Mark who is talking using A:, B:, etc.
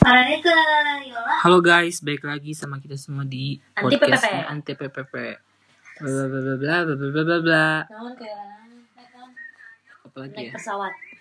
A: Sarannya ke Yola.
B: Halo guys, balik lagi sama kita semua di
A: Anti
B: podcastnya
A: PPP.
B: Anti PPP. Bla bla bla bla bla bla bla bla bla.
A: Namun ke Yola.
B: Apalagi
A: Naik
B: ya?
A: pesawat.